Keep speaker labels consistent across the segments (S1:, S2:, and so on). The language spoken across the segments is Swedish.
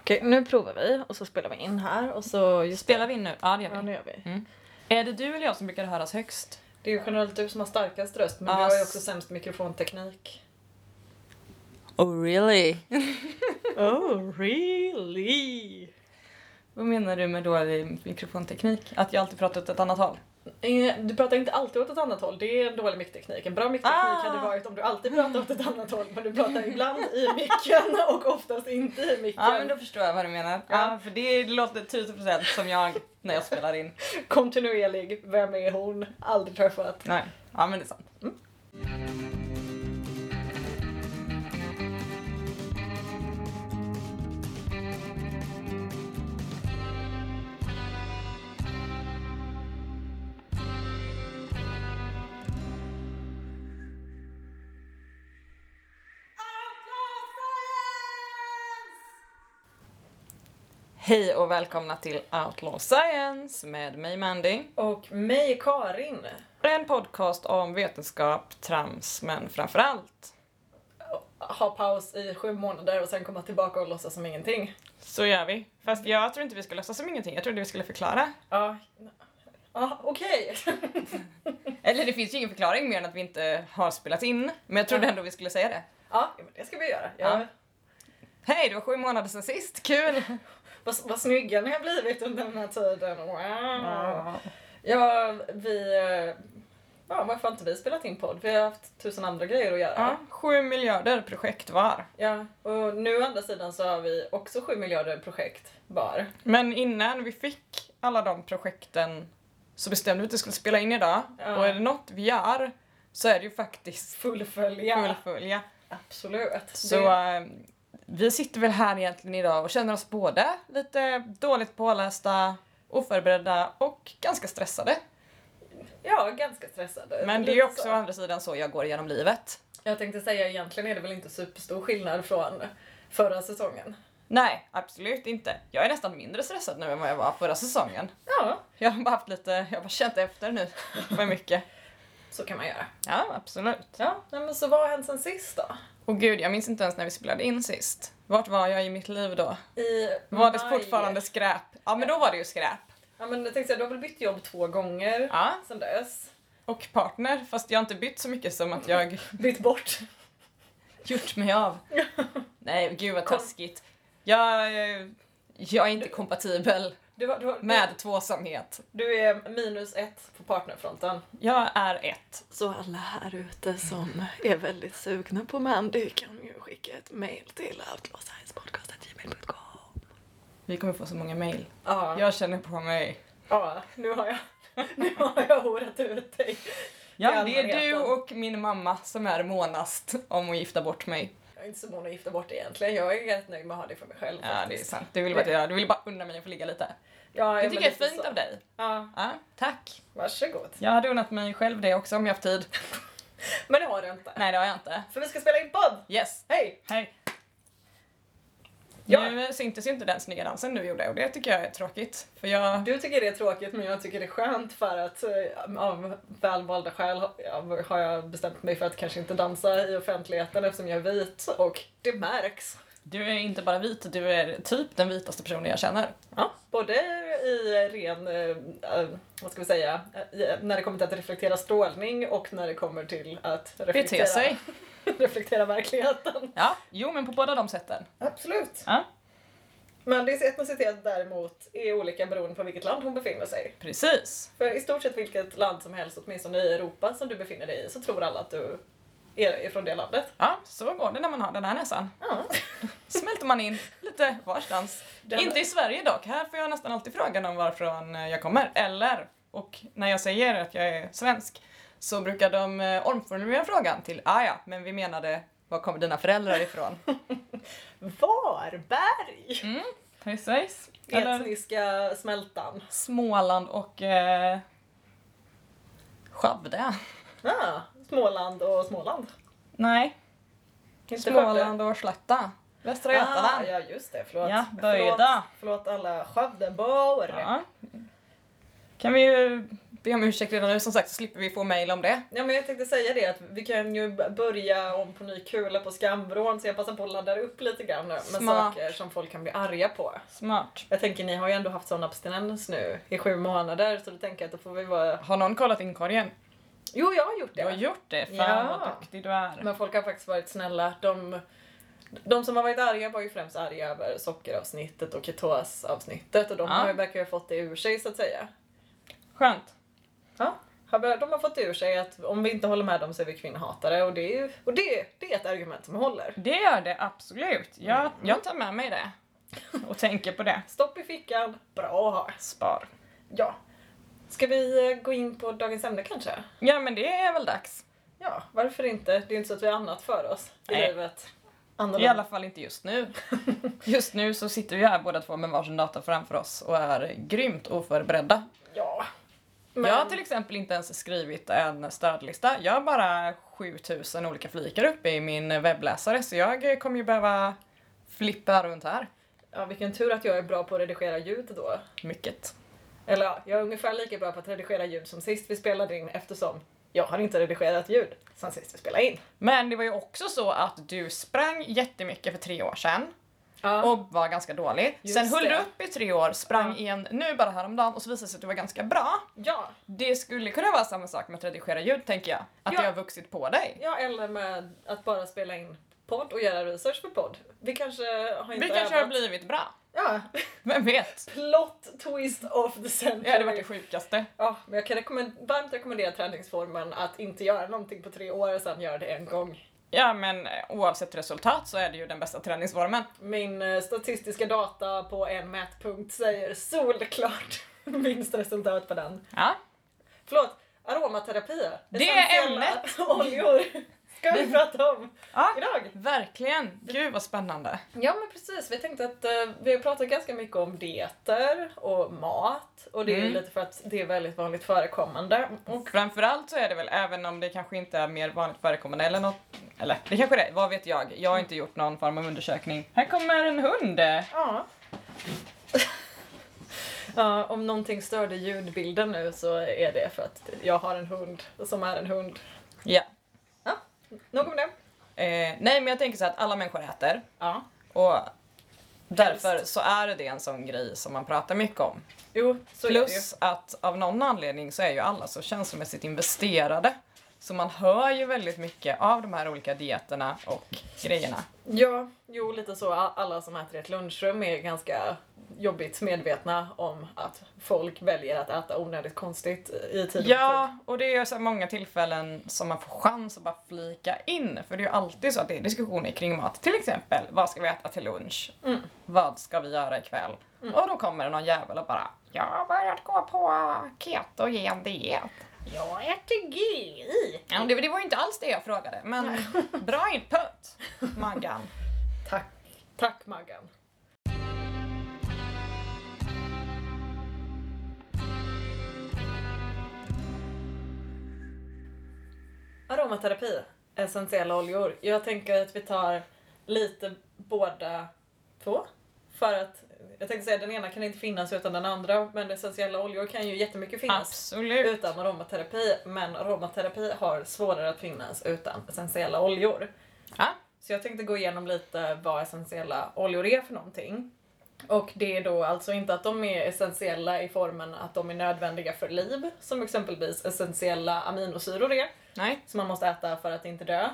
S1: Okej, nu provar vi och så spelar vi in här och så... Just
S2: Spelar vi in nu? Ja, det
S1: Ja,
S2: gör
S1: nu
S2: vi. Mm.
S1: gör vi.
S2: Är det du eller jag som brukar höras högst?
S1: Det är ju generellt du som har starkast röst men
S2: Ja,
S1: jag har ju
S2: s-
S1: också sämst mikrofonteknik.
S2: Oh really?
S1: Oh really?
S2: Vad menar du med dålig mikrofonteknik? Att jag alltid pratar åt ett annat håll?
S1: Du pratar inte alltid åt ett annat håll, det är en dålig mickteknik. En bra mickteknik
S2: Ah.
S1: hade varit om du alltid pratar åt ett annat håll men du pratar ibland i micken och oftast inte i micken.
S2: Ja, men då förstår jag vad du menar. Ja, för det låter 1000% som jag när jag spelar in.
S1: Kontinuerlig, vem är hon? Aldrig träffat.
S2: Nej, ja men det är sant. Mm. Hej och välkomna till Outlaw Science med mig Mandy.
S1: Och mig Karin.
S2: En podcast om vetenskap, trams, men framförallt
S1: Ha paus i sju månader och sen komma tillbaka och låtsas som ingenting.
S2: så gör vi. Fast jag tror inte vi ska låtsas som ingenting, jag trodde vi skulle förklara.
S1: Ja, ja okej.
S2: Eller det finns ju ingen förklaring mer än att vi inte har spelat in, men jag trodde
S1: Ja.
S2: ändå vi skulle säga det.
S1: Ja, men det ska vi göra. Ja.
S2: Ja. Hej, det var sju månader sedan sist, kul!
S1: Vad, vad snygga ni har blivit under den här tiden. Wow. Ja, vi... eh, Ja, varför har inte vi spelat in podd? Vi har haft tusen andra grejer att göra.
S2: Ja, sju miljarder projekt var.
S1: Ja, och nu å andra sidan så har vi också sju miljarder projekt var.
S2: Men innan vi fick alla de projekten så bestämde vi att vi skulle spela in idag.
S1: Ja.
S2: Och är det något vi gör så är det ju faktiskt
S1: Fullfölja.
S2: fullfölja.
S1: Absolut.
S2: Så
S1: Det-
S2: eh, vi sitter väl här egentligen idag och känner oss både lite dåligt pålästa, oförberedda och ganska stressade.
S1: Ja, ganska stressade.
S2: Men det är ju
S1: Lite
S2: också
S1: så.
S2: å andra sidan så jag går genom livet.
S1: Jag tänkte säga egentligen är det väl inte superstor skillnad från förra säsongen.
S2: Nej, absolut inte. Jag är nästan mindre stressad nu än vad jag var förra säsongen.
S1: Ja,
S2: Jag har bara haft lite, jag har bara känt efter nu för mycket.
S1: så kan man göra.
S2: Ja, absolut.
S1: Ja, nej, men så vad har hänt sen sist då?
S2: Och gud, jag minns inte ens när vi spelade in sist. Vart var jag i mitt liv då?
S1: I
S2: Var det
S1: maj.
S2: fortfarande skräp? Ja, men då var det ju skräp.
S1: Ja men jag tänkte säga, du har väl bytt jobb två gånger
S2: Ja,
S1: sen dess?
S2: och partner. Fast jag har inte bytt så mycket som att jag
S1: Bytt bort?
S2: gjort mig av. Nej, gud vad taskigt. Jag, eh, jag är inte kompatibel
S1: Du, har- du, har-
S2: med tvåsamhet.
S1: du är minus ett på partnerfronten.
S2: Jag är ett.
S3: Så alla här ute som är väldigt sugna på Mandy kan ju skicka ett mail till outlawsciencepodcast.gmail.com
S2: Vi kommer få så många mejl.
S1: Ja, ja.
S2: Jag känner på mig.
S1: nu har jag, nu har jag horat ut dig. I
S2: Ja, det är
S1: allmänheten.
S2: du och min mamma som är månast om att gifta bort mig.
S1: Jag är inte så mån att gifta bort egentligen, jag är rätt nöjd med att ha det för mig själv
S2: Ja, det är
S1: faktiskt.
S2: sant. Du vill bara, att jag- du vill bara unna mig att få ligga lite.
S1: Ja,
S2: Det
S1: men
S2: tycker jag
S1: lite
S2: är fint
S1: så.
S2: av dig.
S1: Ja,
S2: Ja, tack.
S1: varsågod.
S2: Jag hade unnat mig själv det också om jag haft tid.
S1: Men det har du inte.
S2: Nej, det har jag inte.
S1: För vi ska spela in podd!
S2: Yes.
S1: Hej!
S2: Hej.
S1: Ja.
S2: Nu syntes ju inte den snygga dansen du gjorde och det tycker jag är tråkigt. För jag...
S1: Du tycker det är tråkigt men jag tycker det är skönt för att eh, av välvalda skäl har- ja, har jag bestämt mig för att kanske inte dansa i offentligheten eftersom jag är vit och det märks.
S2: Du är inte bara vit, du är typ den vitaste personen jag känner.
S1: Ja. Både i ren, eh, eh, vad ska vi säga, eh, i- när det kommer till att reflektera strålning och när det kommer till att
S2: Bete
S1: reflektera,
S2: sig.
S1: reflektera verkligheten.
S2: Ja, jo men på båda de sätten.
S1: Absolut.
S2: Ja.
S1: Mandys etnicitet däremot är olika beroende på vilket land hon befinner sig i.
S2: Precis.
S1: För i stort sett vilket land som helst, åtminstone i Europa, som du befinner dig i så tror alla att du är är från det landet.
S2: Ja, så går det när man har den här näsan.
S1: Ja.
S2: Smälter man in lite varstans.
S1: Den-
S2: Inte i Sverige dock, här får jag nästan alltid frågan om varifrån jag kommer. Eller, och när jag säger att jag är svensk så brukar de eh, omformulera frågan till ah ja, men vi menade var kommer dina föräldrar ifrån?
S1: Varberg!
S2: Precis. Mm. Eller
S1: Etniska smältan.
S2: typ Småland och eh, Skövde.
S1: Ah, Småland och Småland.
S2: Nej,
S1: Inte
S2: Småland och Slätta. Västra
S1: Skövde. Ah,
S2: Götaland.
S1: ja just det, förlåt.
S2: Ja, böjda.
S1: Förlåt, förlåt alla Skövdebor.
S2: Ja. kan vi ju be om ursäkt redan nu som sagt så slipper vi få mejl om det.
S1: Ja, men jag tänkte säga det att vi kan ju b- börja om på ny kula på skambron så jag passar på att ladda upp lite grann nu med
S2: Smart.
S1: saker som folk kan bli arga på.
S2: Smart.
S1: Jag tänker ni har ju ändå haft sån abstinens nu i sju månader så då tänker jag att då får vi vara...
S2: Har någon kollat inkorgen?
S1: Jo, jag har gjort
S2: Du
S1: det.
S2: har gjort det! Fan
S1: Ja.
S2: vad duktig du är.
S1: Men folk har faktiskt varit snälla. De, de som har varit arga var ju främst arga över sockeravsnittet och ketosavsnittet och de
S2: Ja.
S1: har ju verkar ju ha fått det ur sig så att säga.
S2: Skönt.
S1: Ja. har bör- De har fått ur sig att om vi inte håller med dem så är vi kvinnhatare och det är, ju, och det, det är ett argument som håller.
S2: Det gör det absolut. Jag, jag tar med mig det. Och tänker på det.
S1: Stopp i fickan, bra att ha.
S2: Spar.
S1: Ja. Ska vi eh, gå in på dagens ämne kanske?
S2: Ja men det är väl dags.
S1: Ja, varför inte? Det är ju inte så att vi har annat för oss i
S2: Nej.
S1: livet.
S2: I alla fall inte just nu. Just nu så sitter vi här båda två med varsin dator framför oss och är grymt oförberedda.
S1: Ja.
S2: Jag har till exempel inte ens skrivit en stödlista. Jag har bara 7000 olika flikar uppe i min webbläsare så jag kommer ju behöva flippa runt här.
S1: ja, vilken tur att jag är bra på att redigera ljud då.
S2: Mycket.
S1: Eller ja, jag är ungefär lika bra på att redigera ljud som sist vi spelade in eftersom jag har inte redigerat ljud sen sist vi spelade in.
S2: Men det var ju också så att du sprang jättemycket för tre år sedan
S1: Ja.
S2: och var ganska dålig.
S1: Just
S2: Sen höll
S1: det.
S2: du upp i tre år, sprang
S1: Ja.
S2: igen nu bara häromdagen och så visade det sig att du var ganska bra.
S1: ja.
S2: Det skulle kunna vara samma sak med att redigera ljud tänker jag. Att
S1: Ja.
S2: det har vuxit på dig.
S1: ja, eller med att bara spela in podd och göra research för podd. Vi kanske har inte
S2: Vi kanske har
S1: övat.
S2: blivit bra.
S1: Ja.
S2: Vem vet?
S1: Plot twist of the century.
S2: Det typ- hade varit det sjukaste.
S1: Ja, men jag kan rekommend- varmt rekommendera träningsformen att inte göra någonting på tre år och sen göra det en gång.
S2: Ja men eh, oavsett resultat så är det ju den bästa träningsformen.
S1: Min eh, statistiska data på en mätpunkt säger solklart minst resultat på den.
S2: Ja.
S1: Förlåt, aromaterapi.
S2: Det är
S1: ämnet! oljor ska vi prata om
S2: ja.
S1: idag.
S2: Verkligen! Gud vad spännande.
S1: Ja men precis, vi tänkte att eh, vi pratar ganska mycket om dieter och mat och det är ju
S2: Mm.
S1: lite för att det är väldigt vanligt förekommande. Och,
S2: Och framförallt så är det väl, även om det kanske inte är mer vanligt förekommande eller något, eller det kanske det är, vad vet jag? Jag har inte gjort någon form av undersökning. Här kommer en hund!
S1: ja. ja, om någonting störde ljudbilden nu så är det för att jag har en hund som är en hund.
S2: Ja.
S1: Nog om det.
S2: Eh, nej men jag tänker så här att alla människor äter
S1: Ja.
S2: och därför så är det en sån grej som man pratar mycket om.
S1: Jo, så är det ju.
S2: Plus att av någon anledning så är ju alla så känslomässigt investerade. Så man hör ju väldigt mycket av de här olika dieterna och grejerna.
S1: Ja, jo lite så. A- Alla som äter i ett lunchrum är ganska jobbigt medvetna om att folk väljer att äta onödigt konstigt i tid och otid.
S2: Ja, och det är så här många tillfällen som man får chans att bara flika in. För det är ju alltid så att det är diskussioner kring mat. Till exempel, vad ska vi äta till lunch?
S1: Mm.
S2: Vad ska vi göra ikväll? Och då kommer det någon jävel och bara Jag har börjat gå på ketogen diet.
S1: Jag äter GI.
S2: Ja, det, det var ju inte alls det jag frågade, men bra input, Maggan.
S1: Tack. Tack Maggan. Aromaterapi, essentiella oljor. Jag tänker att vi tar lite båda två. För att, jag tänkte säga den ena kan inte finnas utan den andra, men essentiella oljor kan ju jättemycket finnas
S2: Absolut.
S1: utan aromaterapi. Men aromaterapi har svårare att finnas utan essentiella oljor.
S2: Ja.
S1: Så jag tänkte gå igenom lite vad essentiella oljor är för någonting. Och det är då alltså inte att de är essentiella i formen att de är nödvändiga för liv, som exempelvis essentiella aminosyror är,
S2: Nej.
S1: som man måste äta för att inte dö.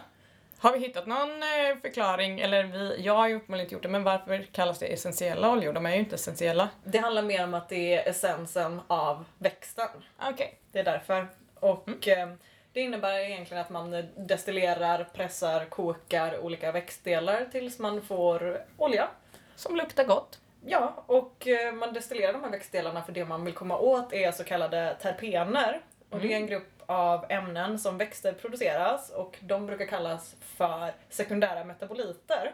S2: Har vi hittat någon eh, förklaring, eller vi, jag har ju uppenbarligen inte gjort det, men varför kallas det essentiella oljor? De är ju inte essentiella.
S1: Det handlar mer om att det är essensen av växten.
S2: Okej.
S1: Det är därför. Och eh, det innebär egentligen att man destillerar, pressar, kokar olika växtdelar tills man får olja.
S2: Som luktar gott.
S1: Ja, och eh, man destillerar de här växtdelarna för det man vill komma åt är så kallade terpener. Och det är en grupp av ämnen som växter produceras och de brukar kallas för sekundära metaboliter.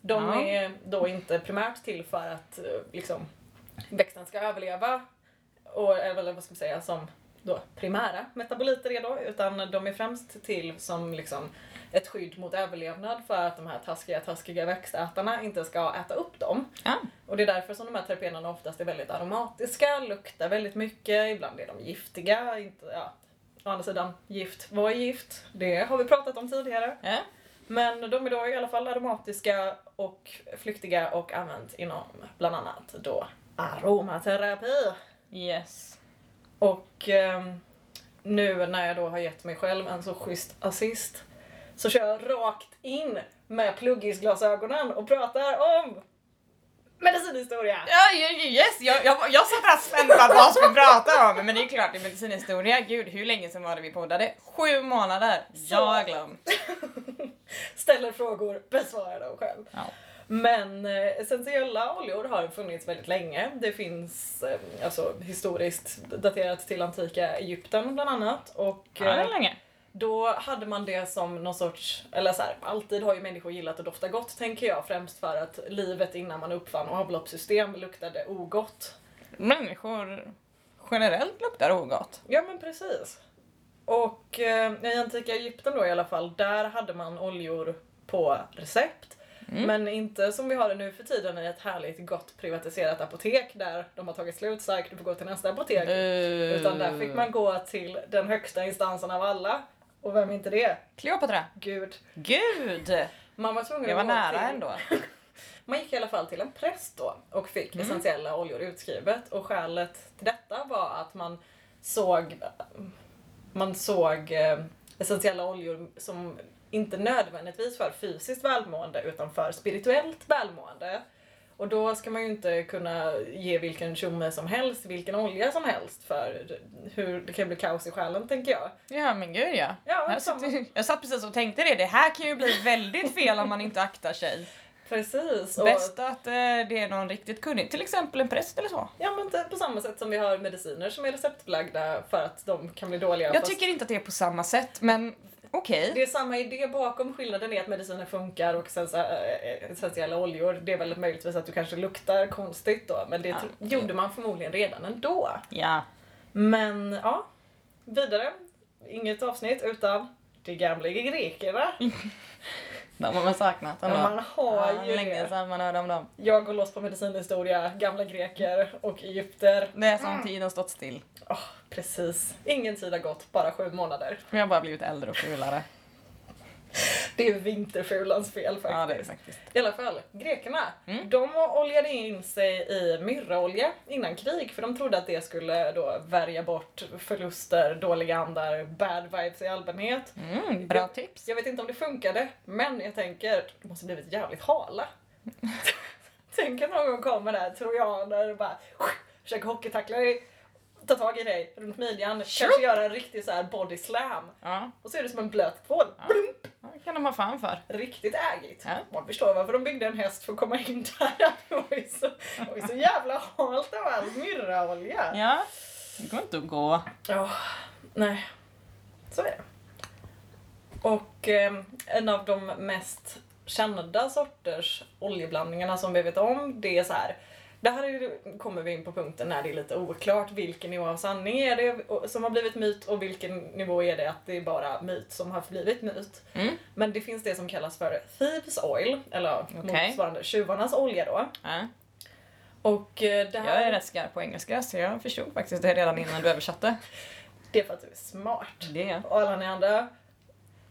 S1: De
S2: Ja.
S1: är då inte primärt till för att eh, liksom, växten ska överleva, och, eller vad ska man säga, som då primära metaboliter är då, utan de är främst till som liksom ett skydd mot överlevnad för att de här taskiga, taskiga växtätarna inte ska äta upp dem.
S2: Ja.
S1: Och det är därför som de här terpenerna oftast är väldigt aromatiska, luktar väldigt mycket, ibland är de giftiga. Inte, ja. Å andra sidan, gift, vad är gift? Det har vi pratat om tidigare.
S2: Ja.
S1: Men de är då i alla fall aromatiska och flyktiga och använt inom bland annat då aromaterapi.
S2: Yes.
S1: Och ehm, nu när jag då har gett mig själv en så schysst assist så kör jag rakt in med pluggisglasögonen och pratar om medicinhistoria.
S2: Ja, ja, ja, yes, jag, jag, jag satt där spänd på vad jag skulle prata om. Men det är klart, det är medicinhistoria. Gud, hur länge sedan var det vi poddade? Sju månader. Jag har glömt.
S1: Ställer frågor, besvarar dem själv.
S2: Ja.
S1: Men eh, essentiella oljor har funnits väldigt länge. Det finns eh, alltså, historiskt daterat till antika Egypten bland annat. Och,
S2: Ja, det
S1: eh,
S2: var länge.
S1: Då hade man det som någon sorts, eller så här, alltid har ju människor gillat att dofta gott tänker jag främst för att livet innan man uppfann avloppssystem luktade ogott.
S2: Människor generellt luktar ogott.
S1: Ja men precis. Och eh, i antika Egypten då i alla fall, där hade man oljor på recept.
S2: Mm.
S1: Men inte som vi har det nu för tiden i ett härligt gott privatiserat apotek där de har tagit slut starkt, du får gå till nästa apotek.
S2: Eh,
S1: Utan där fick man gå till den högsta instansen av alla. Och vem är inte det?
S2: Kleopatra.
S1: Gud.
S2: Gud!
S1: Man var tvungen
S2: Jag var
S1: att gå
S2: nära
S1: till-
S2: ändå.
S1: Man gick i alla fall till en präst då och fick
S2: Mm.
S1: essentiella oljor utskrivet och skälet till detta var att man såg, man såg eh, essentiella oljor som inte nödvändigtvis för fysiskt välmående utan för spirituellt välmående. Och då ska man ju inte kunna ge vilken tjomme som helst, vilken olja som helst för hur det kan bli kaos i själen tänker jag.
S2: Ja men gud ja.
S1: Ja,
S2: Här
S1: samma.
S2: sitter- Alltså, jag satt precis och tänkte det, det här kan ju bli väldigt fel om man inte aktar sig.
S1: Precis. och-
S2: Bäst att eh, det är någon riktigt kunnig, till exempel en präst eller så.
S1: Ja men inte på samma sätt som vi har mediciner som är receptbelagda för att de kan bli dåliga.
S2: Jag
S1: fast
S2: tycker inte att det är på samma sätt men okej.
S1: Det är samma idé bakom, skillnaden är att mediciner funkar och sen så, äh, essentiella oljor, det är väl möjligtvis att du kanske luktar konstigt då men det
S2: Ja.
S1: tro- gjorde man förmodligen redan ändå.
S2: Ja.
S1: Men ja, vidare. Inget avsnitt utan de gamla grekerna.
S2: De har man saknat ändå.
S1: Men man har
S2: Ja,
S1: ju
S2: länge
S1: det.
S2: sedan man hörde om dem.
S1: Jag går loss på medicinhistoria, gamla greker och egypter.
S2: Det är
S1: Mm.
S2: som tiden stått still.
S1: Åh, precis. Ingen tid har gått, bara sju månader.
S2: Vi har bara blivit äldre och fulare.
S1: Det är vinterfulans fel faktiskt.
S2: Ja det är det faktiskt.
S1: I alla fall, grekerna.
S2: Mm.
S1: De oljade in sig i myrraolja innan krig för de trodde att det skulle då värja bort förluster, dåliga andar, bad vibes i allmänhet.
S2: Mm, bra tips.
S1: Jag vet inte om det funkade, men jag tänker, det måste blivit jävligt hala. Tänk att någon gång kommer där trojaner och bara försöker hockeytackla dig, ta tag i dig runt midjan, kanske göra en riktig så här body slam.
S2: Ja,
S1: Och så är du som en blöt tvål.
S2: Ja. det kan de ha fan för.
S1: Riktigt ägigt.
S2: Ja.
S1: Man förstår varför de byggde en häst för att komma in där. Det var ju så, det var ju så jävla halt av all myrraolja.
S2: Ja, det går inte att gå.
S1: Ja, nej. Så är det. Och eh, en av de mest kända sorters oljeblandningarna som vi vet om, det är så här. Det här är, ju- kommer vi in på punkten när det är lite oklart vilken nivå av sanning är det och- som har blivit myt och vilken nivå är det att det är bara myt som har blivit myt.
S2: Mm.
S1: Men det finns det som kallas för thieves oil, eller
S2: Okej.
S1: motsvarande tjuvarnas olja då.
S2: Ja.
S1: Och eh, det
S2: Jag
S1: här,
S2: är rätt skarp på engelska så jag förstod faktiskt det redan innan du översatte.
S1: det är för att du är smart.
S2: Det,
S1: Och alla ni andra,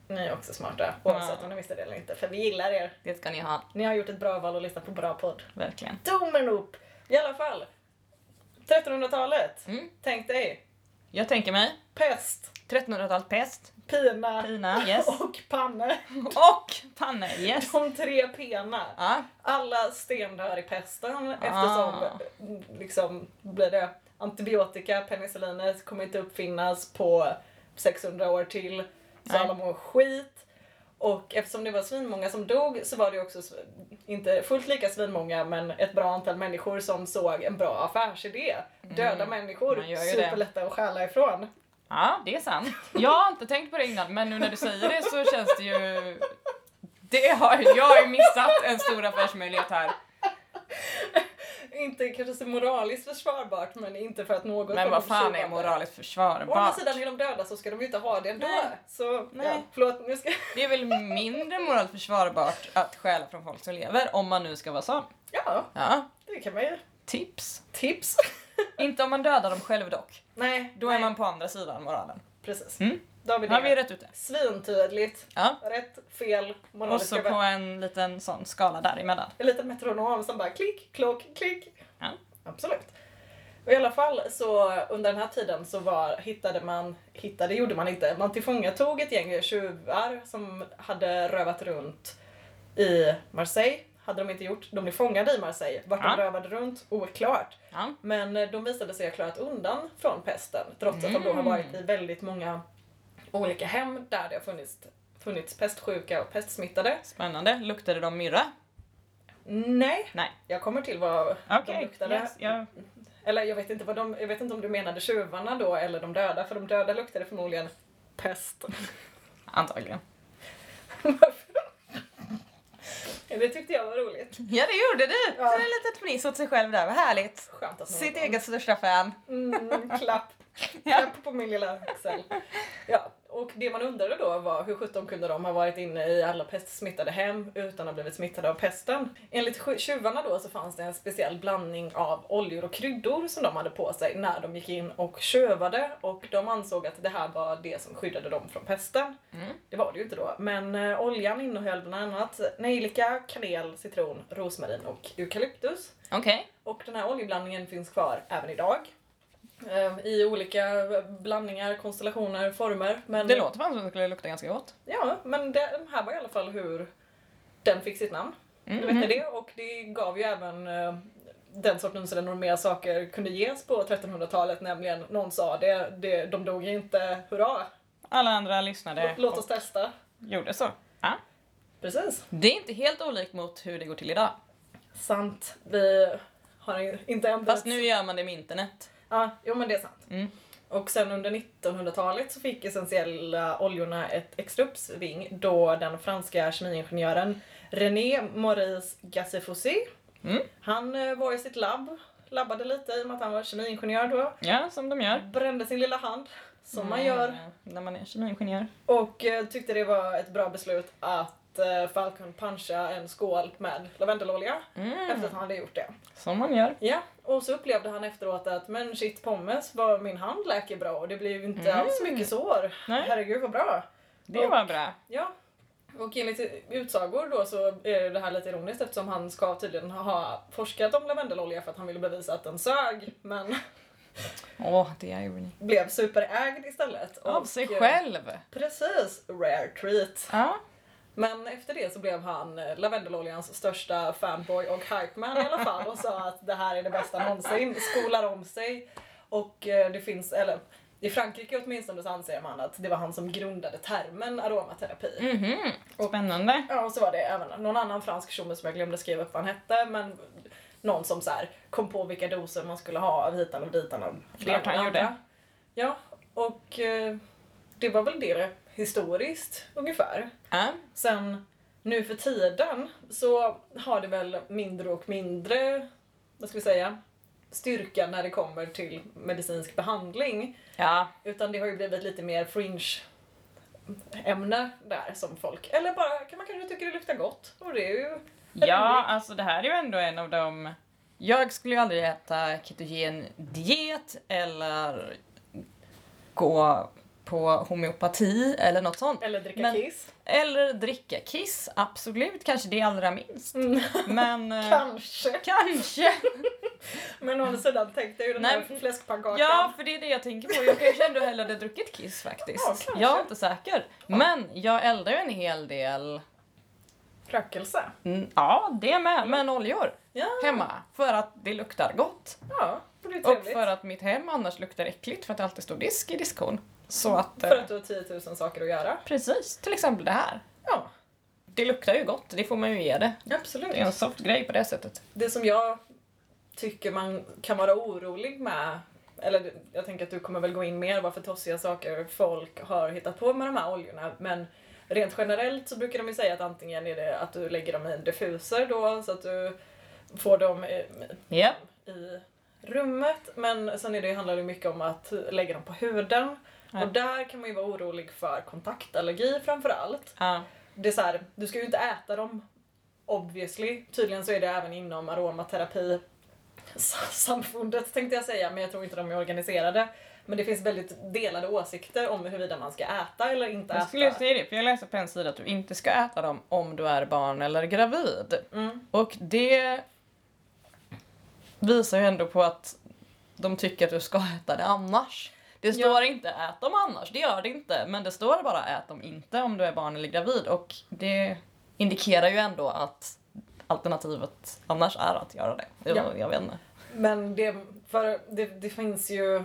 S1: ni är också smarta. Oavsett
S2: Ja.
S1: om ni visste det eller inte, för vi gillar er.
S2: det ska ni ha,
S1: Ni har gjort ett bra val och lyssnat på bra podd.
S2: verkligen.
S1: Tummen upp! I alla fall, 1300-talet.
S2: Mm.
S1: Tänk dig
S2: Jag tänker mig
S1: pest,
S2: 1300-talet pest,
S1: pina
S2: pina, yes.
S1: och panne.
S2: Och panne, yes.
S1: De tre pena.
S2: Ja,
S1: Alla stendör i pesten eftersom
S2: Ah.
S1: eh, liksom, blir det antibiotika, penicillinet kommer inte uppfinnas på 600 år till. Så
S2: Nej.
S1: alla mår skit. Och eftersom det var svinmånga som dog så var det också, sv- inte fullt lika svinmånga, men ett bra antal människor som såg en bra affärsidé. Döda människor,
S2: Mm. man gör ju det.
S1: superlätta att stjäla ifrån.
S2: ja, det är sant. Jag har inte tänkt på det innan men nu när du säger det så känns det ju... Det har jag har ju missat en stor affärsmöjlighet här.
S1: inte kanske så moraliskt försvarbart men inte för att något
S2: Men vad fan är
S1: försvarbart.
S2: moraliskt
S1: Å andra
S2: försvarbart?
S1: sidan är de döda så ska de ju inte ha det ändå.
S2: Nej.
S1: Så
S2: Nej.
S1: Ja, förlåt, nu ska
S2: Det är väl mindre moraliskt försvarbart att stjäla från folk som lever, om man nu ska vara sån.
S1: Ja,
S2: Ja,
S1: det kan man ju.
S2: tips.
S1: Tips.
S2: Inte om man dödar dem själv dock.
S1: Nej,
S2: Då är
S1: nej,
S2: man på andra sidan moralen.
S1: Precis.
S2: Mm.
S1: Då har vi det.
S2: Har vi rätt ute?
S1: Svintydligt.
S2: Ja.
S1: Rätt, fel,
S2: Och så
S1: moraliska
S2: på
S1: vä-
S2: en liten sån skala däremellan.
S1: En liten metronom som bara klick, klock, klick.
S2: Ja.
S1: Absolut. Och I alla fall så under den här tiden så var, hittade man, hittade gjorde man inte, man tillfångatog ett gäng tjuvar som hade rövat runt i Marseille. Hade de inte gjort. De blev fångade i Marseille. Vart
S2: Ja.
S1: de rövade runt, oklart.
S2: Ja.
S1: Men eh, de visade sig ha klarat undan från pesten trots att de då har
S2: Mm.
S1: varit i väldigt många olika hem där det har funnits, funnits pestsjuka och pestsmittade.
S2: Spännande. Luktade de myrra?
S1: Nej,
S2: Nej.
S1: jag kommer till vad de
S2: Okej.
S1: luktade.
S2: Yes, ja.
S1: Eller jag vet, inte vad de, jag vet inte om du menade tjuvarna då eller de döda för de döda luktade förmodligen pest.
S2: Antagligen.
S1: det tyckte jag var roligt.
S2: Ja, det gjorde du!
S1: Ja.
S2: Så det är lite fniss åt sig själv där, vad härligt.
S1: Skönt att någon...
S2: Sitt eget största fan.
S1: Mm, klapp. Klapp på min lilla axel. Ja, och det man undrade då var hur sjutton kunde de ha varit inne i alla pestsmittade hem utan att ha blivit smittade av pesten? Enligt sju- tjuvarna då så fanns det en speciell blandning av oljor och kryddor som de hade på sig när de gick in och tjövade och de ansåg att det här var det som skyddade dem från pesten.
S2: Mm.
S1: Det var det ju inte då, men eh, oljan innehöll bland annat nejlika, kanel, citron, rosmarin och eukalyptus.
S2: Okej.
S1: Och den här oljeblandningen finns kvar även idag. Eh, I olika blandningar, konstellationer, former. Men,
S2: Det låter fan som att det skulle lukta ganska gott.
S1: Ja, men det, den här var i alla fall hur den fick sitt namn.
S2: Mm.
S1: Du vet ni det? Och det gav ju även eh, den sortens renommerade saker kunde ges på 1300-talet, nämligen någon sa det, det de dog inte, hurra!
S2: Alla andra lyssnade
S1: Låt- Låt oss
S2: och
S1: testa.
S2: gjorde så. Ja.
S1: Precis.
S2: Det är inte helt olikt mot hur det går till idag.
S1: Sant. Vi har inte ändrat...
S2: Fast nu gör man det med internet.
S1: Ja, jo men det är sant.
S2: Mm.
S1: Och sen under 1900-talet så fick essentiella oljorna ett extra uppsving då den franska kemiingenjören René Maurice Gassifossé,
S2: Mm.
S1: han eh, var i sitt labb, labbade lite i och med att han var kemiingenjör då,
S2: Ja, som de gör.
S1: brände sin lilla hand, som man gör,
S2: Mm, När man är kemiingenjör.
S1: och eh, tyckte det var ett bra beslut att eh, Falcon puncha en skål med lavendelolja
S2: Mm.
S1: efter att han hade gjort det.
S2: Som man gör.
S1: Ja, och så upplevde han efteråt att men shit pommes var min hand läker bra och det blev ju inte
S2: Mm.
S1: alls mycket sår.
S2: Nej.
S1: Herregud vad bra.
S2: Det var bra.
S1: Ja. Och enligt utsagor då så är det här lite ironiskt eftersom han ska tydligen ha forskat om lavendelolja för att han ville bevisa att den sög men
S2: Åh, det är ironi.
S1: blev superägd istället.
S2: Av
S1: Och,
S2: sig
S1: eh,
S2: själv.
S1: Precis, rare treat.
S2: Ja.
S1: Men efter det så blev han eh, lavendeloljans största fanboy och hypeman i alla fall och sa att det här är det bästa någonsin, skolar om sig. Och eh, det finns, eller i Frankrike åtminstone så anser man att det var han som grundade termen aromaterapi.
S2: Mhm. Spännande.
S1: Ja, och så var det även någon annan fransk tjomme som jag glömde skriva upp vad han hette, men någon som så här kom på vilka doser man skulle ha av hitan och ditan och
S2: Klart han
S1: och
S2: gjorde.
S1: andra. Ja, och eh, det var väl det historiskt ungefär.
S2: Ja.
S1: Sen nu för tiden så har det väl mindre och mindre, vad ska vi säga, styrka när det kommer till medicinsk behandling.
S2: ja.
S1: Utan det har ju blivit lite mer fringe ämne där som folk, eller bara kan man kanske tycker det luktar gott och det är ju
S2: Ja, alltså det här är ju ändå en av de... Jag skulle ju aldrig äta ketogen diet eller gå på homeopati eller något sånt.
S1: eller dricka
S2: Men-
S1: kiss.
S2: Eller dricka kiss, absolut. Kanske det allra minst.
S1: Mm,
S2: Men... eh,
S1: kanske.
S2: Kanske!
S1: Men å andra sidan tänkte jag ju den
S2: Nej,
S1: här fläskpannkakan.
S2: Ja, för det är det jag tänker på. Jag kanske ändå hellre hade druckit kiss
S1: Ja,
S2: faktiskt.
S1: kanske.
S2: jag är inte säker. Men jag eldar ju en hel del,
S1: Rökelse.
S2: mm, ja det med, men oljor
S1: Ja.
S2: hemma. För att det luktar gott.
S1: Ja, och det är
S2: Och
S1: trevligt.
S2: för att mitt hem annars luktar äckligt för att det alltid står disk i diskon. Så att... eh,
S1: för att du har 10 000 saker att göra.
S2: Precis, till exempel det här.
S1: Ja,
S2: Det luktar ju gott, det får man ju ge det.
S1: absolut.
S2: Det är en soft grej på det sättet.
S1: det som jag tycker man kan vara orolig med, eller jag tänker att du kommer väl gå in mer varför tossiga saker folk har hittat på med de här oljorna, men rent generellt så brukar de ju säga att antingen är det att du lägger dem i en diffuser då så att du får dem i,
S2: Ja.
S1: i rummet. Men sen är det, handlar det mycket om att lägga dem på huden.
S2: Ja.
S1: Och där kan man ju vara orolig för kontaktallergi framförallt.
S2: Ja.
S1: Det är så här, du ska ju inte äta dem obviously. Tydligen så är det även inom aromaterapi s- samfundet tänkte jag säga, men jag tror inte de är organiserade. Men det finns väldigt delade åsikter om huruvida man ska äta eller inte
S2: Jag skulle
S1: äta.
S2: säga det, för jag läste på en sida att du inte ska äta dem om du är barn eller gravid.
S1: Mm.
S2: Och det visar ju ändå på att de tycker att du ska äta det annars. Det
S1: Ja.
S2: står inte ät dem annars, det gör det inte. Men det står bara ät dem inte om du är barn eller gravid. Och det indikerar ju ändå att alternativet annars är att göra det. Jag,
S1: Ja.
S2: jag vet inte.
S1: Men det, för det, det finns ju...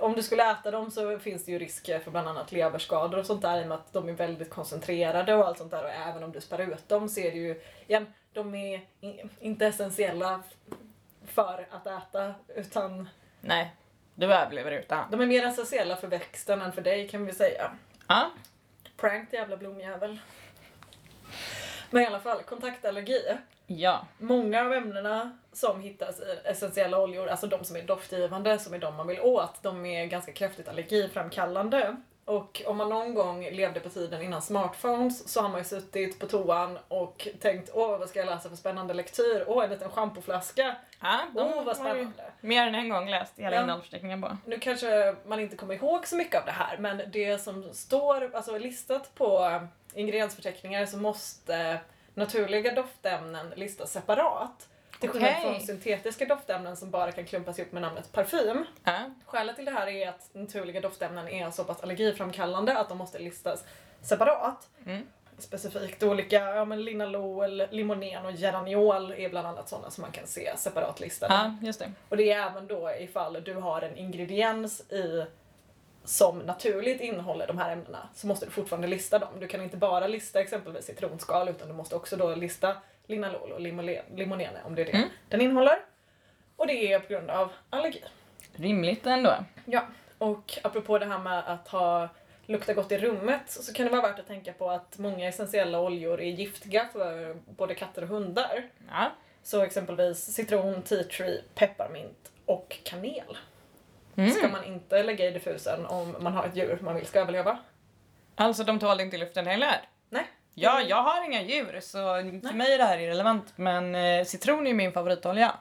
S1: Om du skulle äta dem så finns det ju risk för bland annat leverskador och sånt där i och med att de är väldigt koncentrerade och allt sånt där. Och även om du spär ut dem så är det ju... Igen, de är i- inte essentiella för att äta utan
S2: Nej, du överlever utan.
S1: de är mer essentiella för växten än för dig kan vi säga.
S2: Ja.
S1: Prank till jävla blomjävel. Men i alla fall, kontaktallergi.
S2: ja.
S1: Många av ämnena som hittas i essentiella oljor, alltså de som är doftgivande, som är de man vill åt, de är ganska kraftigt allergiframkallande. Och om man någon gång levde på tiden innan smartphones så har man ju suttit på toan och tänkt åh vad ska jag läsa för spännande lektyr? Åh en liten schampoflaska!
S2: ja de
S1: Åh vad
S2: har ju
S1: spännande!
S2: Mer än en gång läst hela
S1: Ja.
S2: innehållsförteckningen på.
S1: Nu kanske man inte kommer ihåg så mycket av det här men det som står alltså listat på ingrediensförteckningar så måste naturliga doftämnen listas separat. Till skillnad
S2: Okej.
S1: från syntetiska doftämnen som bara kan klumpas ihop med namnet parfym.
S2: Ja.
S1: Skälet till det här är att naturliga doftämnen är så pass allergiframkallande att de måste listas separat.
S2: Mm.
S1: Specifikt olika, ja men linalol, limonen och geraniol är bland annat sådana som man kan se separat listade.
S2: ja, just det.
S1: Och det är även då ifall du har en ingrediens i som naturligt innehåller de här ämnena så måste du fortfarande lista dem. Du kan inte bara lista exempelvis citronskal utan du måste också då lista linalol och limolen- limonene om det är det
S2: Mm.
S1: den innehåller. Och det är på grund av allergi.
S2: Rimligt ändå.
S1: Ja, och apropå det här med att ha lukta gott i rummet så kan det vara värt att tänka på att många essentiella oljor är giftiga för både katter och hundar.
S2: Ja.
S1: Så exempelvis citron, tea tree, pepparmint och kanel
S2: Mm.
S1: ska man inte lägga i diffusen om man har ett djur man vill ska överleva.
S2: Alltså de tål inte luften heller?
S1: Nej.
S2: Ja, jag har inga djur så för mig är det här irrelevant men eh, citron är min favoritolja.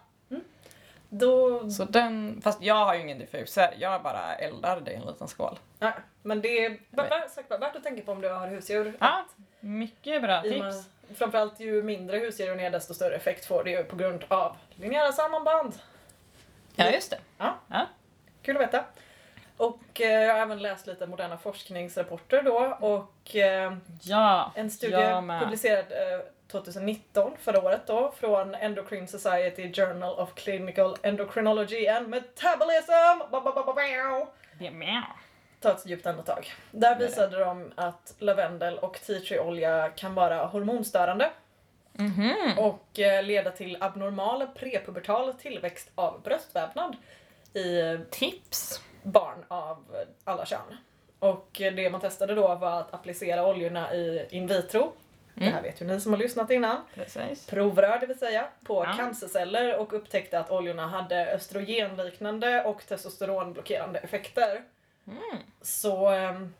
S1: Då...
S2: Så den, fast jag har ju ingen diffuser, jag bara eldar det i en liten skål.
S1: Ja, men det är bara, bara, sagt, bara värt att tänka på om du har husdjur.
S2: Ja, mycket bra
S1: I och med-
S2: tips.
S1: Framförallt ju mindre husdjuren är desto större effekt får det ju på grund av linjära sammanband.
S2: Ja, just det.
S1: Kul att veta. Och eh, jag har även läst lite moderna forskningsrapporter då och eh,
S2: Ja,
S1: en studie
S2: jag med.
S1: publicerad eh, 2019, förra året då, från Endocrine Society Journal of Clinical Endocrinology and Metabolism! Ba, ba, ba, ba, ba.
S2: Det är med.
S1: Ta ett djupt andetag. Där visade de att lavendel och tea tree olja kan vara hormonstörande
S2: Mhm.
S1: och eh, leda till abnormal prepubertal tillväxt av bröstvävnad i
S2: Tips.
S1: barn av alla kön. Och eh, det man testade då var att applicera oljorna i in vitro, det här vet ju ni som har lyssnat innan,
S2: Precis.
S1: provrör det vill säga, på
S2: Ja.
S1: cancerceller och upptäckte att oljorna hade östrogenliknande och testosteronblockerande effekter.
S2: Mm.
S1: Så ehm,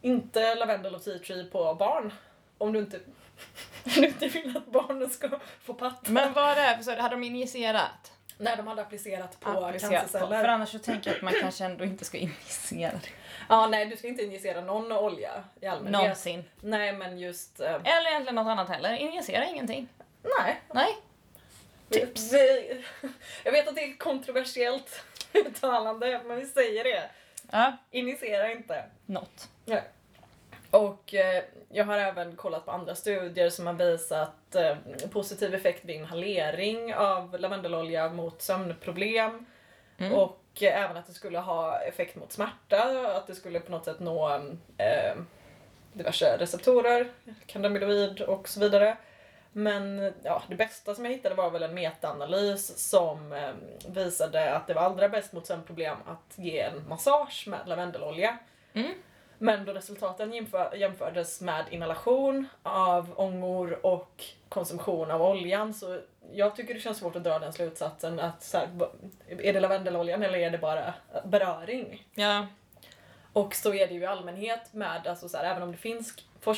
S1: inte lavendel och tea tree på barn. Om du inte, om du inte vill att barnen ska få patta.
S2: Men vad är det här för så hade de injicerat?
S1: När de hade applicerat på
S2: Applicerat på.
S1: cancerceller.
S2: För annars så tänker jag att man kanske ändå inte ska injicera det.
S1: Ja, nej du ska inte injicera någon olja i allmänhet.
S2: Någonsin.
S1: Nej men just... eh,
S2: Eller egentligen något annat heller. Injicera ingenting.
S1: nej.
S2: Nej.
S1: Tips. Vi, jag vet att det är kontroversiellt uttalande men vi säger det.
S2: Ja,
S1: Injicera inte.
S2: något.
S1: Nej. Och eh, jag har även kollat på andra studier som har visat eh, positiv effekt vid inhalering av lavendelolja mot sömnproblem.
S2: Mm.
S1: Och eh, även att det skulle ha effekt mot smärta, att det skulle på något sätt nå eh, diverse receptorer, cannabinoid och så vidare. Men ja, det bästa som jag hittade var väl en metaanalys som eh, visade att det var allra bäst mot sömnproblem att ge en massage med lavendelolja. Men då resultaten jämför, jämfördes med inhalation av ångor och konsumtion av oljan så jag tycker det känns svårt att dra den slutsatsen att så här, b- är det lavendeloljan eller är det bara beröring?
S2: Ja.
S1: Och så är det ju i allmänhet med, alltså så här, även om det finns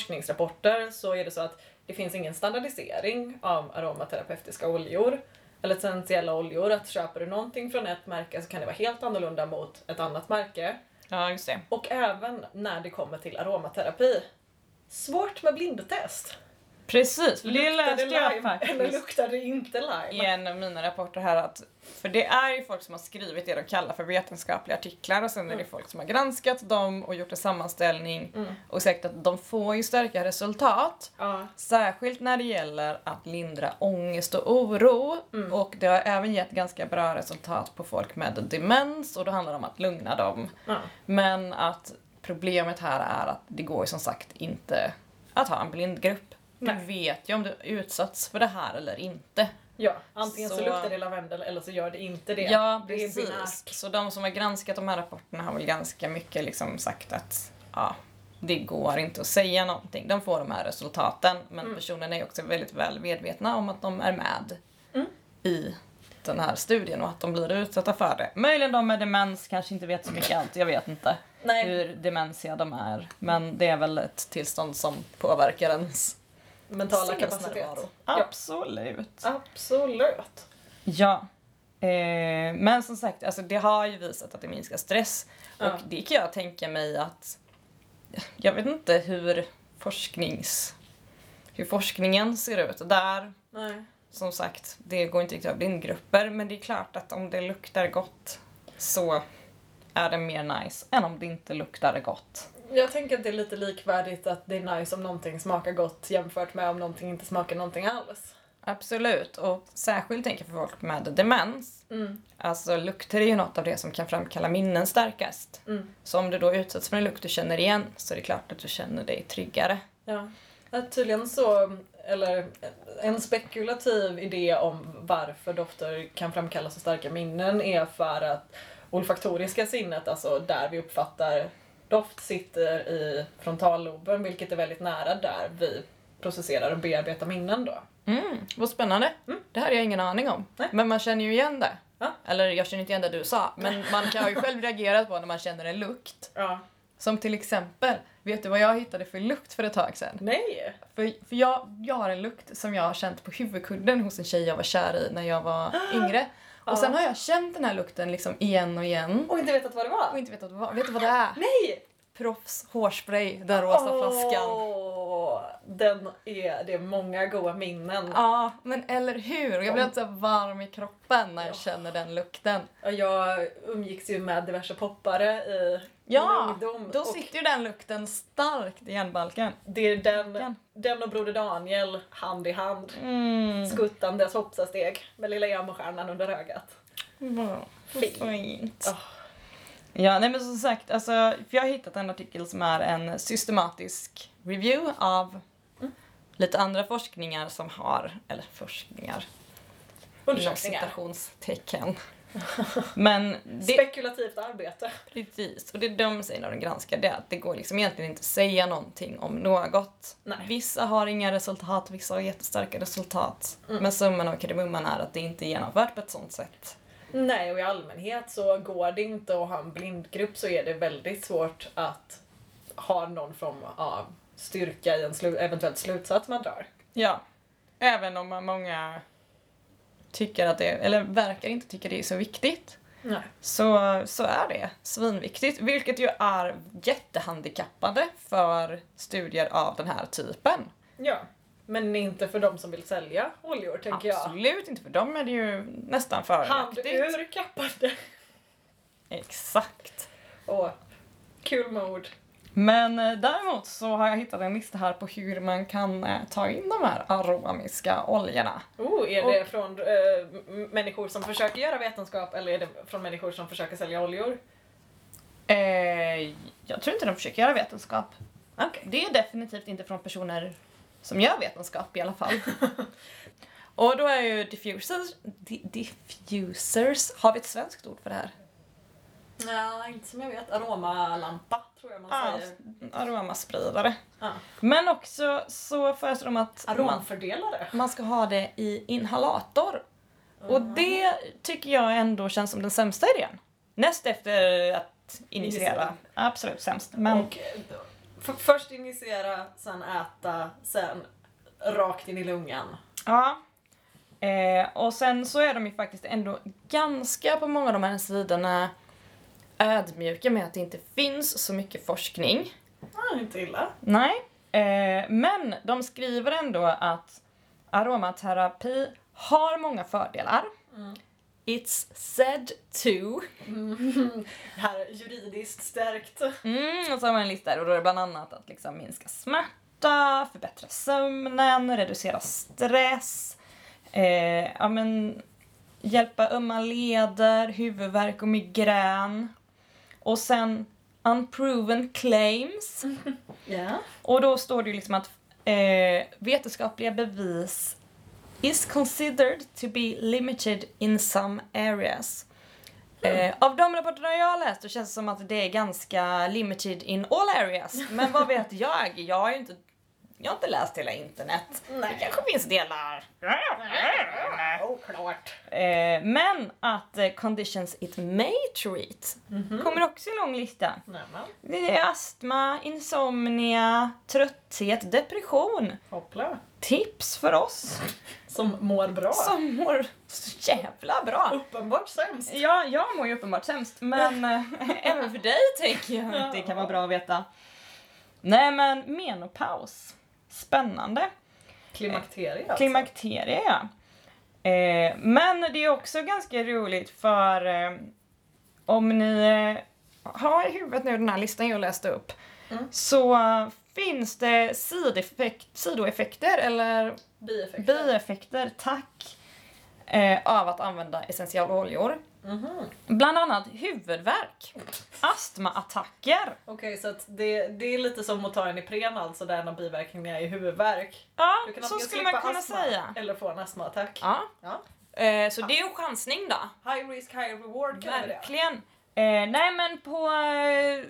S1: forskningsrapporter så är det så att det finns ingen standardisering av aromaterapeutiska oljor eller essentiella oljor. Att köper du någonting från ett märke så kan det vara helt annorlunda mot ett annat märke.
S2: ja, just det.
S1: Och även när det kommer till aromaterapi. Svårt med blindtest.
S2: Precis, för det
S1: Luktar
S2: läste jag
S1: lime eller
S2: faktiskt
S1: luktar det inte lime?
S2: i en av mina rapporter här att för det är ju folk som har skrivit det de kallar för vetenskapliga artiklar och sen är det
S1: Mm.
S2: folk som har granskat dem och gjort en sammanställning
S1: Mm.
S2: och sagt att de får ju starka resultat
S1: Ja.
S2: Särskilt när det gäller att lindra ångest och oro.
S1: Mm.
S2: Och det har även gett ganska bra resultat på folk med demens och då handlar det om att lugna dem.
S1: ja.
S2: Men att problemet här är att det går ju som sagt inte att ha en blindgrupp. Du
S1: Nej.
S2: vet ju om du utsatts för det här eller inte.
S1: Ja, antingen så...
S2: Så-
S1: luktar det lavendel eller så gör det inte det.
S2: ja,
S1: det är
S2: precis.
S1: binärt.
S2: Så de som har granskat de här rapporterna har väl ganska mycket liksom sagt att ja, det går inte att säga någonting. De får de här resultaten men
S1: Mm.
S2: personerna är också väldigt väl medvetna om att de är med
S1: Mm.
S2: i den här studien och att de blir utsatta för det. Möjligen de med demens kanske inte vet så mycket allt, jag vet inte
S1: Nej,
S2: hur demensiga de är. Men det är väl ett tillstånd som påverkar ens
S1: mentala kapacitet.
S2: sinnesnärvaro.
S1: Ja.
S2: Absolut.
S1: Absolut.
S2: Ja. Eh, men som sagt, alltså det har ju visat att det minskar stress.
S1: Ja.
S2: Och det kan jag tänka mig att... Jag vet inte hur forsknings... Hur forskningen ser ut där.
S1: Nej.
S2: Som sagt, det går inte riktigt att ha blindgrupper. Men det är klart att om det luktar gott så är det mer nice än om det inte luktar gott.
S1: Jag tänker att det är lite likvärdigt att det är nice om någonting smakar gott jämfört med om någonting inte smakar någonting alls.
S2: Absolut, och särskilt tänker jag för folk med demens.
S1: Mm.
S2: Alltså lukter är ju något av det som kan framkalla minnen starkast.
S1: Mm.
S2: Så om du då utsätts för en lukt du känner igen så är det klart att du känner dig tryggare.
S1: Ja. Ja, Tydligen så, eller en spekulativ idé om varför dofter kan framkalla så starka minnen är för att olfaktoriska sinnet, alltså där vi uppfattar doft, sitter i frontalloben vilket är väldigt nära där vi processerar och bearbetar minnen då.
S2: Mm, vad spännande. Det här har jag ingen aning om.
S1: Nej.
S2: Men man känner ju igen det.
S1: Ja.
S2: Eller jag känner inte igen det du sa, men man kan har ju själv reagerat på när man känner en lukt.
S1: Ja.
S2: Som till exempel, vet du vad jag hittade för lukt för ett tag sedan?
S1: Nej!
S2: För, för jag, jag har en lukt som jag har känt på huvudkudden hos en tjej jag var kär i när jag var yngre. Och sen har jag känt den här lukten liksom igen och igen.
S1: Och inte vetat vad det
S2: Och
S1: var?
S2: inte vetat vad, vet du vad det är?
S1: Nej!
S2: Proffs hårspray, den rosa flaskan.
S1: Åh, Den är, det är många goda minnen.
S2: Ja, men eller hur? Och Jag blir alltid så varm i kroppen när jag känner den lukten.
S1: Och Jag umgicks ju med diverse poppare i min
S2: Ja,
S1: ungdom.
S2: då
S1: och
S2: sitter ju den lukten starkt i hjärnbalken.
S1: det är den,
S2: Den.
S1: den och Broder Daniel hand i hand.
S2: Mm.
S1: Skuttandes hoppsasteg med lilla jamostjärnan under ögat.
S2: Wow,
S1: Fint.
S2: Fint.
S1: Ah.
S2: Ja, nej men som sagt, alltså, för jag har hittat en artikel som är en systematisk review av
S1: Mm.
S2: lite andra forskningar som har, eller forskningar, inom
S1: Undersökningar.
S2: citationstecken. Men det,
S1: Spekulativt arbete.
S2: Precis, och det de säger när de granskar det är att det går liksom egentligen inte att säga någonting om något.
S1: Nej.
S2: Vissa har inga resultat, vissa har jättestarka resultat.
S1: Mm.
S2: Men summan av kardemumman är att det inte är genomfört på ett sånt sätt.
S1: Nej, och i allmänhet så går det inte att ha en blindgrupp så är det väldigt svårt att ha någon form av styrka i en slu- eventuell slutsats man drar.
S2: Ja, även om man många tycker att det, eller verkar inte tycka det är så viktigt,
S1: Nej.
S2: så, så är det svinviktigt. Vilket ju är jättehandikappande för studier av den här typen.
S1: Ja. Men inte för de som vill sälja oljor, tänker jag.
S2: Absolut inte, för dem är det ju nästan
S1: Hand
S2: fördelaktigt.
S1: ur kappade.
S2: Exakt.
S1: Åh, kul med ord.
S2: Men eh, däremot så har jag hittat en lista här på hur man kan eh, ta in de här aromiska oljorna.
S1: Oh, är det från eh, m- människor som försöker göra vetenskap eller är det från människor som försöker sälja oljor?
S2: Eh, jag tror inte de försöker göra vetenskap.
S1: Okej.
S2: Det är definitivt inte från personer som gör vetenskap i alla fall. Och då är ju diffusers... Di diffusers... Har vi ett svenskt ord för det här?
S1: Nej, inte som jag vet. Aromalampa tror jag man
S2: Ja,
S1: säger.
S2: aromaspridare.
S1: Ja.
S2: Men också så föreslår de att man,
S1: Aromfördelare.
S2: man ska ha det i inhalator. Och
S1: Mm.
S2: det tycker jag ändå känns som den sämsta idén. Näst efter att injicera.
S1: Injicera.
S2: Absolut sämst. Men
S1: Och för, först injicera, sen äta, sen rakt in i lungan.
S2: Ja. Eh, och sen så är de ju faktiskt ändå ganska på många av de här sidorna ödmjuka med att det inte finns så mycket forskning.
S1: Ja, Ah, inte illa.
S2: Nej. Eh, men de skriver ändå att aromaterapi har många fördelar.
S1: Mm.
S2: It's said to.
S1: Mm. Här, juridiskt stärkt.
S2: Mm, och så har man en lista där och då är det bland annat att liksom minska smärta, förbättra sömnen, reducera stress, eh, ja, men, hjälpa ömma leder, huvudvärk och migrän. Och sen unproven claims.
S1: Ja.
S2: Och då står det ju liksom att eh, vetenskapliga bevis is considered to be limited in some areas. Eh, av de rapporterna jag har läst så känns det som att det är ganska limited in all areas. Men vad vet jag? Jag har ju inte, jag har inte läst hela internet. Det
S1: Nej.
S2: kanske finns delar.
S1: Oklart.
S2: Eh, men att eh, conditions it may treat kommer också i en lång lista.
S1: Nämen.
S2: Det är astma, insomnia, trötthet, depression.
S1: Hoppla.
S2: Tips för oss
S1: Som mår bra.
S2: som mår så jävla bra.
S1: Uppenbart sämst.
S2: Ja, jag mår ju uppenbart sämst, men eh, även för dig tänker jag att det kan vara bra att veta. Nej men menopaus. Spännande.
S1: Klimakteriet. alltså.
S2: Klimakterie ja. Eh, men det är också ganska roligt för eh, om ni eh, har i huvudet nu den här listan jag läste upp
S1: Mm.
S2: så eh, finns det sideffekt, sidoeffekter eller
S1: Bieffekter.
S2: bieffekter, tack, eh, av att använda essentialoljor.
S1: Mhm.
S2: Bland annat huvudvärk, astmaattacker.
S1: Okej, så att det, det är lite som att ta en Ipren alltså, där en av biverkningarna är huvudvärk.
S2: Ja,
S1: Du kan
S2: så
S1: antingen
S2: skulle man
S1: slippa
S2: kunna
S1: astma
S2: säga.
S1: Eller få en astmaattack.
S2: Ja.
S1: Ja.
S2: Eh, så det är ju en chansning då.
S1: High risk, high reward kan vi det.
S2: Verkligen. Eh, nej men på eh,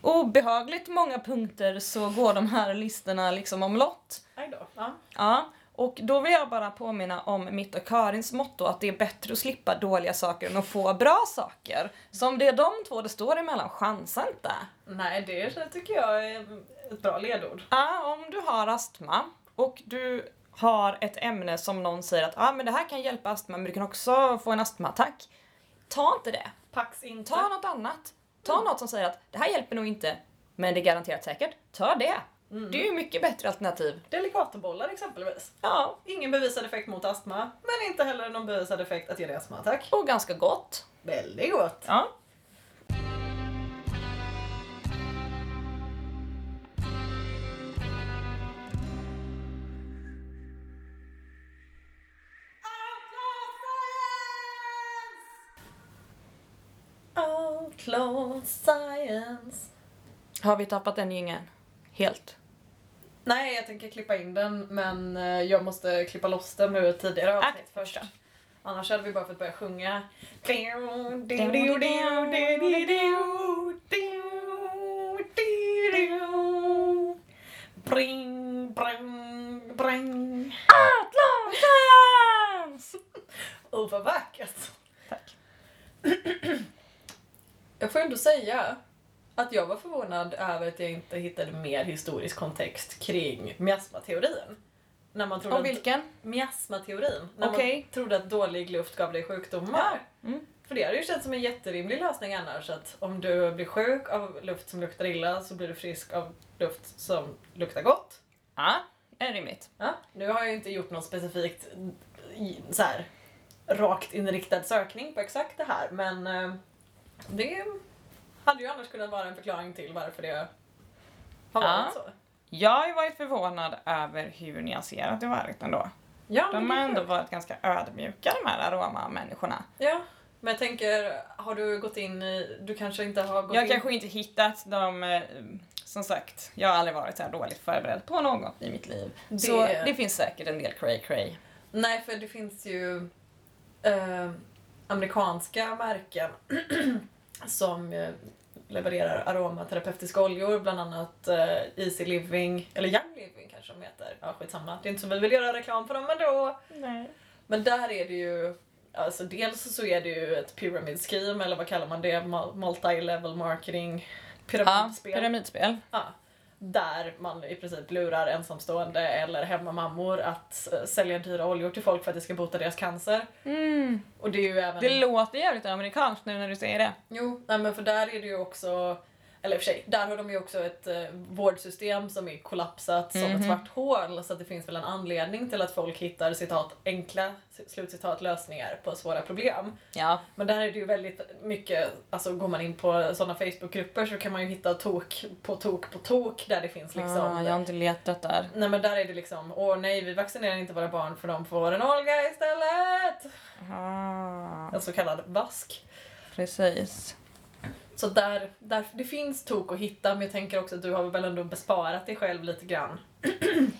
S2: obehagligt många punkter så går de här listorna liksom omlott.
S1: Aj då. Ja.
S2: Ja. Och då vill jag bara påminna om mitt och Karins motto att det är bättre att slippa dåliga saker än att få bra saker. Så om det är de två det står emellan, chansa inte.
S1: Nej, det tycker jag är ett bra ledord.
S2: Ja, om du har astma och du har ett ämne som någon säger att ah, men det här kan hjälpa astma men du kan också få en astmaattack. Ta inte det.
S1: Pax inte.
S2: Ta något annat. Ta något som säger att det här hjälper nog inte, men det är garanterat säkert. Ta det. Det är ju mycket bättre alternativ.
S1: Delikatobollar exempelvis.
S2: Ja,
S1: Ingen bevisad effekt mot astma, men inte heller någon bevisad effekt att ge dig astmaattack.
S2: och ganska gott.
S1: Väldigt gott.
S2: Ja.
S1: Outlaw science.
S2: Har vi tappat den gingen? Helt.
S1: Nej, jag tänker klippa in den, men eh, jag måste klippa loss den nu tidigare
S2: Ah,
S1: avsnitt först. Annars hade vi bara fått börja sjunga. Bring, bring, bring.
S2: Atlantis!
S1: Oh, vad vackert.
S2: Tack.
S1: Jag får ändå säga att jag var förvånad över att jag inte hittade mer historisk kontext kring miasmateorin. När man trodde
S2: Och
S1: att,
S2: vilken?
S1: miasmateorin. När
S2: Okej.
S1: man trodde att dålig luft gav dig sjukdomar.
S2: Ja, mm.
S1: För det hade ju känts som en jätterimlig lösning annars. Att om du blir sjuk av luft som luktar illa så blir du frisk av luft som luktar gott.
S2: Ja, är rimligt.
S1: Ja, nu har jag ju inte gjort någon specifikt i- så här, rakt inriktad sökning på exakt det här men eh, det hade ju annars kunnat vara en förklaring till varför det har
S2: Ja.
S1: varit så.
S2: Jag har ju varit förvånad över hur nyanserat det varit ändå.
S1: Ja, men
S2: De har
S1: det-
S2: ändå varit ganska ödmjuka de här aromamänniskorna.
S1: ja, men jag tänker, har du gått in i, du kanske inte har gått
S2: Jag
S1: in...
S2: kanske inte hittat de, eh, som sagt, jag har aldrig varit så här dåligt förberedd på något i mitt liv.
S1: Det-
S2: Så det finns säkert en del cray cray.
S1: Nej, för det finns ju eh, amerikanska märken som eh, levererar aromaterapeutiska oljor, bland annat eh, Easy Living, eller Young Living kanske de heter. Ja, skitsamma. Det är inte som vi vill göra reklam för dem ändå.
S2: Nej.
S1: Men där är det ju, alltså dels så är det ju ett pyramid scheme, eller vad kallar man det? Mul- Multi-level marketing,
S2: Ja,
S1: pyramidspel.
S2: pyramidspel.
S1: Ja. Där man i princip lurar ensamstående eller hemmamammor att eh, sälja dyra oljor till folk för att det ska bota deras cancer.
S2: Mm.
S1: Och det är ju även...
S2: Det låter jävligt amerikanskt nu när du säger det.
S1: Jo, nej men för där är det ju också, eller i och för sig, där har de ju också ett eh, vårdsystem som är kollapsat som
S2: Mhm.
S1: ett svart hål så att det finns väl en anledning till att folk hittar citat enkla slutcitat lösningar på svåra problem.
S2: Ja.
S1: Men där är det ju väldigt mycket, alltså går man in på sådana Facebookgrupper så kan man ju hitta tok på tok på tok där det finns liksom
S2: Ah, jag har inte letat där.
S1: Nej men där är det liksom, åh nej vi vaccinerar inte våra barn för de får en Olga istället!
S2: Ah,
S1: En så kallad vask.
S2: precis.
S1: Så där, där, det finns tok att hitta men jag tänker också att du har väl ändå besparat dig själv lite grann.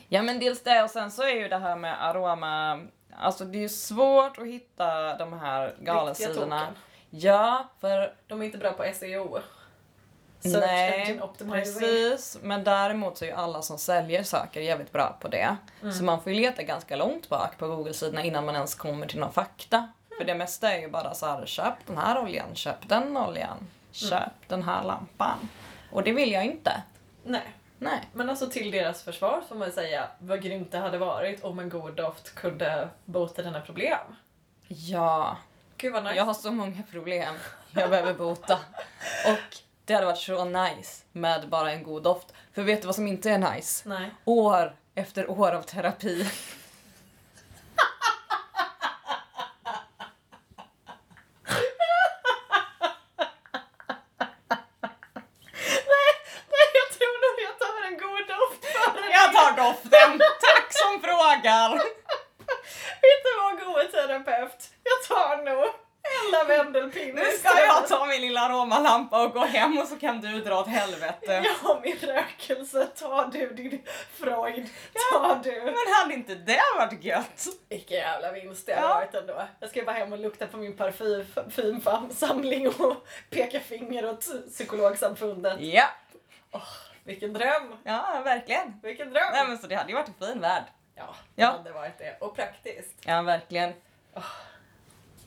S2: Ja men dels det och sen så är ju det här med aroma, alltså det är ju svårt att hitta de här
S1: Riktiga
S2: galensidorna.
S1: token.
S2: Ja, för
S1: De är inte bra på SEO. Search
S2: Nej,
S1: Engine Optimizing.
S2: Precis, men däremot så är ju alla som säljer saker jävligt bra på det.
S1: Mm.
S2: Så man får ju leta ganska långt bak på Google-sidorna innan man ens kommer till någon fakta.
S1: Mm.
S2: För det mesta är ju bara så här, köp den här oljan, köp den
S1: Mm.
S2: oljan, köp den här lampan. Och det vill jag inte.
S1: Nej.
S2: Nej.
S1: Men alltså till deras försvar får man ju säga vad grymt det hade varit om en god doft kunde bota dina problem.
S2: Ja,
S1: Gud vad nice.
S2: jag har så många problem jag behöver bota. Och det hade varit så nice med bara en god doft. För vet du vad som inte är nice?
S1: Nej.
S2: År efter år av terapi.
S1: Nej jag tror nog jag tar en god doft före
S2: Jag
S1: det.
S2: tar doften! Tack som frågar!
S1: Vet du vad god terapeut? Jag tar nog en lavendelpinne.
S2: Nu ska jag ta min lilla aromalampa och gå hem och så kan du dra åt helvete.
S1: Jag har min rökelse, ta du din Freud, ta du.
S2: Men hade inte det varit gött?
S1: Vilken jävla vinst det har
S2: Ja.
S1: varit ändå. Jag ska bara hem och lukta på min parfymsamling och peka finger åt psykologsamfundet.
S2: Ja,
S1: Vilken dröm!
S2: ja verkligen.
S1: Vilken dröm!
S2: Nej men så det hade ju varit en fin värld.
S1: Ja, det
S2: Ja.
S1: hade varit det. Och praktiskt.
S2: Ja verkligen.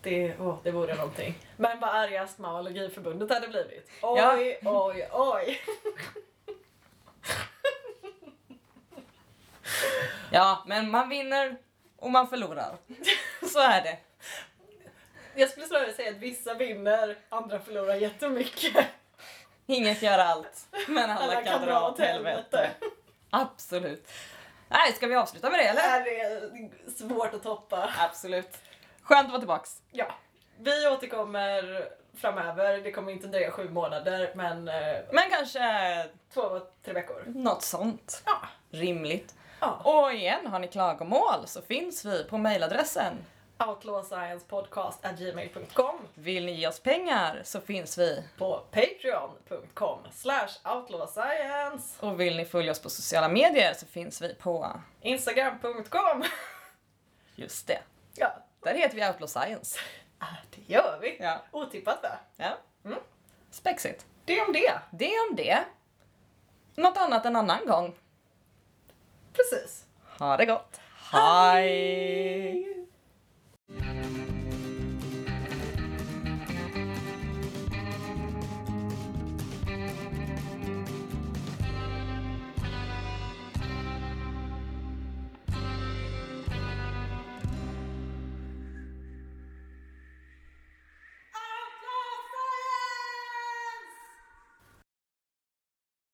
S1: Det, åh, det vore någonting. Men vad arga Astma och Allergiförbundet hade blivit. Oj,
S2: Ja.
S1: oj, oj.
S2: Ja, men man vinner och man förlorar. Så är det.
S1: Jag skulle snarare säga att vissa vinner, andra förlorar jättemycket.
S2: Inget gör allt, men alla, kan, dra åt helvete. Absolut. Nej, ska vi avsluta med det
S1: Det
S2: eller?
S1: här är svårt att toppa.
S2: Absolut. Skönt att vara tillbaks.
S1: Ja. Vi återkommer framöver. Det kommer inte dröja sju månader, men eh,
S2: Men kanske
S1: två, tre veckor.
S2: något sånt.
S1: Ja.
S2: Rimligt.
S1: ja.
S2: Och igen, har ni klagomål så finns vi på mejladressen.
S1: Outlawsciencepodcast.gmail.com
S2: Vill ni ge oss pengar så finns vi.
S1: på patreon.com slash outlawscience
S2: Och vill ni följa oss på sociala medier så finns vi på...
S1: instagram.com
S2: Just det.
S1: Ja,
S2: Där heter vi Outlaw Science.
S1: det gör vi.
S2: Ja.
S1: Otippat va?
S2: ja.
S1: Mm.
S2: Spexigt.
S1: Det om det.
S2: Det om det. Något annat en annan gång.
S1: Precis.
S2: Ha det gott. Hej!